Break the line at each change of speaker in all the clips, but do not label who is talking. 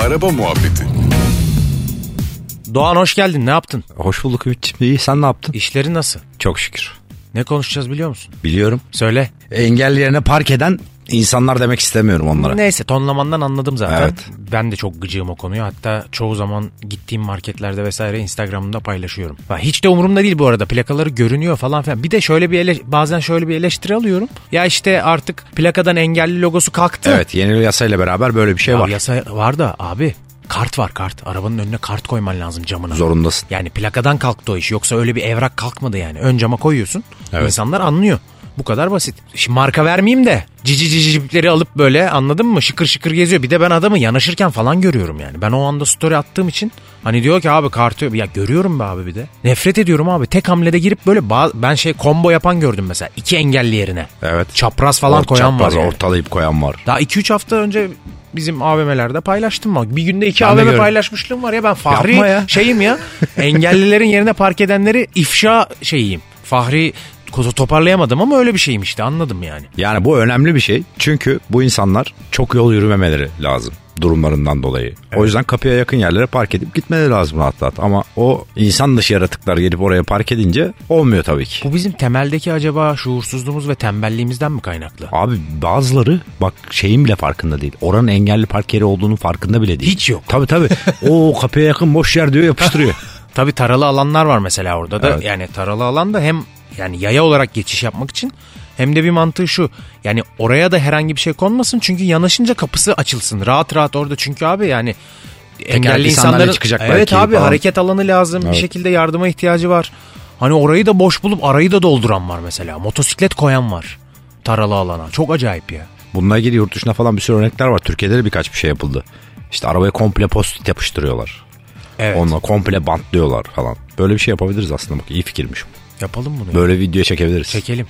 Araba Muhabbeti
Doğan hoş geldin ne yaptın?
Hoş bulduk Ümit'ciğim. İyi sen ne yaptın?
İşleri nasıl?
Çok şükür.
Ne konuşacağız biliyor musun?
Biliyorum.
Söyle.
Engelli yerine park eden insanlar demek istemiyorum onlara.
Neyse tonlamandan anladım zaten.
Evet.
Ben de çok gıcığım o konuya. Hatta çoğu zaman gittiğim marketlerde vesaire Instagram'da paylaşıyorum. Ha, hiç de umurumda değil bu arada. Plakaları görünüyor falan filan. Bir de şöyle bir ele- bazen şöyle bir eleştiri alıyorum. Ya işte artık plakadan engelli logosu kalktı.
Evet yeni yasayla beraber böyle bir şey
Abi
var.
yasa var da abi kart var kart. Arabanın önüne kart koyman lazım camına.
Zorundasın.
Yani plakadan kalktı o iş. Yoksa öyle bir evrak kalkmadı yani. Ön cama koyuyorsun.
Evet.
İnsanlar anlıyor. Bu kadar basit. Şimdi marka vermeyeyim de cici cici cipleri alıp böyle anladın mı? Şıkır şıkır geziyor. Bir de ben adamı yanaşırken falan görüyorum yani. Ben o anda story attığım için hani diyor ki abi kartı ya görüyorum be abi bir de. Nefret ediyorum abi. Tek hamlede girip böyle ba- ben şey combo yapan gördüm mesela. iki engelli yerine.
Evet.
Çapraz falan
Ort-
koyan
çapraz,
var. yani.
Ortalayıp koyan var.
Daha 2-3 hafta önce bizim AVM'lerde paylaştım bak. Bir günde iki
Ben de
AVM
gördüm.
paylaşmışlığım var ya ben Fahri
Yapma ya.
şeyim ya. engellilerin yerine park edenleri ifşa şeyiyim. Fahri kozu toparlayamadım ama öyle bir şeyim işte anladım yani.
Yani bu önemli bir şey. Çünkü bu insanlar çok yol yürümemeleri lazım durumlarından dolayı. O yüzden kapıya yakın yerlere park edip gitmeleri lazım rahat rahat. Ama o insan dışı yaratıklar gelip oraya park edince olmuyor tabii ki.
Bu bizim temeldeki acaba şuursuzluğumuz ve tembelliğimizden mi kaynaklı?
Abi bazıları bak şeyin bile farkında değil. Oranın engelli park yeri olduğunun farkında bile değil.
Hiç yok.
Tabii tabii. o kapıya yakın boş yer diyor yapıştırıyor.
Tabii taralı alanlar var mesela orada da.
Evet.
Yani taralı alan da hem yani yaya olarak geçiş yapmak için hem de bir mantığı şu. Yani oraya da herhangi bir şey konmasın çünkü yanaşınca kapısı açılsın. Rahat rahat orada çünkü abi yani engelli
sandalye
insanların
çıkacak
Evet
belki
abi
falan.
hareket alanı lazım. Bir şekilde yardıma ihtiyacı var. Hani orayı da boş bulup arayı da dolduran var mesela. Motosiklet koyan var taralı alana. Çok acayip ya.
Bununla ilgili yurt dışına falan bir sürü örnekler var. Türkiye'de de birkaç bir şey yapıldı. İşte arabaya komple post yapıştırıyorlar.
Evet.
Onunla komple bantlıyorlar falan. Böyle bir şey yapabiliriz aslında bak iyi fikirmiş. bu.
Yapalım bunu. ya.
Böyle video çekebiliriz.
Çekelim.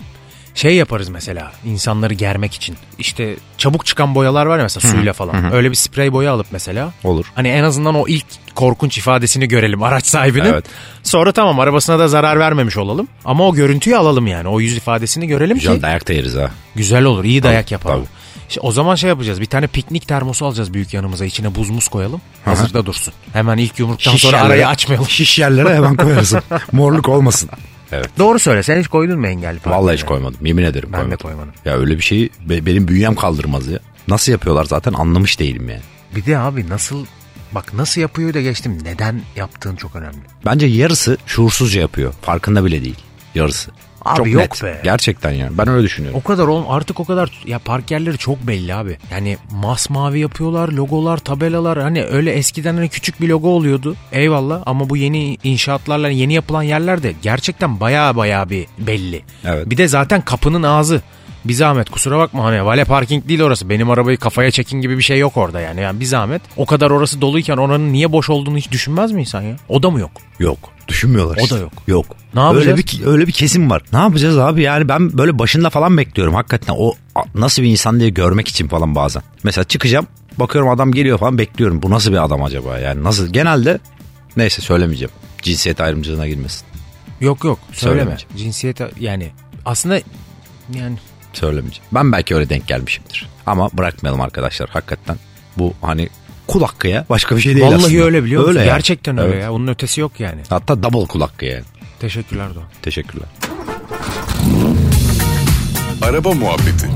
Şey yaparız mesela insanları germek için. İşte çabuk çıkan boyalar var ya mesela suyla falan. Öyle bir sprey boya alıp mesela.
Olur.
Hani en azından o ilk korkunç ifadesini görelim araç sahibinin.
Evet.
Sonra tamam arabasına da zarar vermemiş olalım. Ama o görüntüyü alalım yani. O yüz ifadesini görelim
Güzel
ki
dayak da yeriz ha.
güzel olur. iyi dayak yapalım.
tabii.
İşte o zaman şey yapacağız. Bir tane piknik termosu alacağız büyük yanımıza. İçine buz muz koyalım. Hazırda dursun. Hemen ilk yumruktan sonra
yerlere-
arayı açmayalım.
Şiş yerlere hemen koyarsın. Morluk olmasın. Evet.
Doğru söyle. Sen hiç koydun mu engelli?
Vallahi hiç koymadım. Yemin ederim
Ben de
koymadım.
koymadım.
Ya öyle bir şeyi be- benim bünyem kaldırmaz ya. Nasıl yapıyorlar zaten anlamış değilim yani.
Bir de abi nasıl bak nasıl yapıyor da geçtim neden yaptığın çok önemli.
Bence yarısı şuursuzca yapıyor. Farkında bile değil. Yarısı.
Abi
Çok
yok
net.
be.
Gerçekten yani. Ben öyle düşünüyorum.
O kadar oğlum artık o kadar ya park yerleri çok belli abi. Yani masmavi yapıyorlar logolar tabelalar hani öyle eskiden hani küçük bir logo oluyordu. Eyvallah ama bu yeni inşaatlarla yeni yapılan yerler de gerçekten baya baya bir belli.
Evet.
Bir de zaten kapının ağzı. Bir zahmet kusura bakma hani vale parking değil orası. Benim arabayı kafaya çekin gibi bir şey yok orada yani. yani bir zahmet. O kadar orası doluyken oranın niye boş olduğunu hiç düşünmez mi insan ya? O da mı yok?
Yok. Düşünmüyorlar
O
işte.
da yok.
Yok.
Ne yapacağız?
Öyle bir, öyle bir kesim var. Ne yapacağız abi yani ben böyle başında falan bekliyorum. Hakikaten o a- nasıl bir insan diye görmek için falan bazen. Mesela çıkacağım bakıyorum adam geliyor falan bekliyorum. Bu nasıl bir adam acaba yani nasıl? Genelde neyse söylemeyeceğim. Cinsiyet ayrımcılığına girmesin.
Yok yok söyleme.
Söylemeyeceğim.
Cinsiyet yani aslında yani
Söylemeyeceğim. Ben belki öyle denk gelmişimdir. Ama bırakmayalım arkadaşlar hakikaten. Bu hani kul hakkı ya başka bir şey değil
vallahi
aslında.
öyle biliyor musun?
Öyle yani.
Gerçekten öyle
Evet.
ya. Onun ötesi yok yani.
Hatta double kul hakkı yani.
Teşekkürler Doğan.
Teşekkürler.
Araba Muhabbeti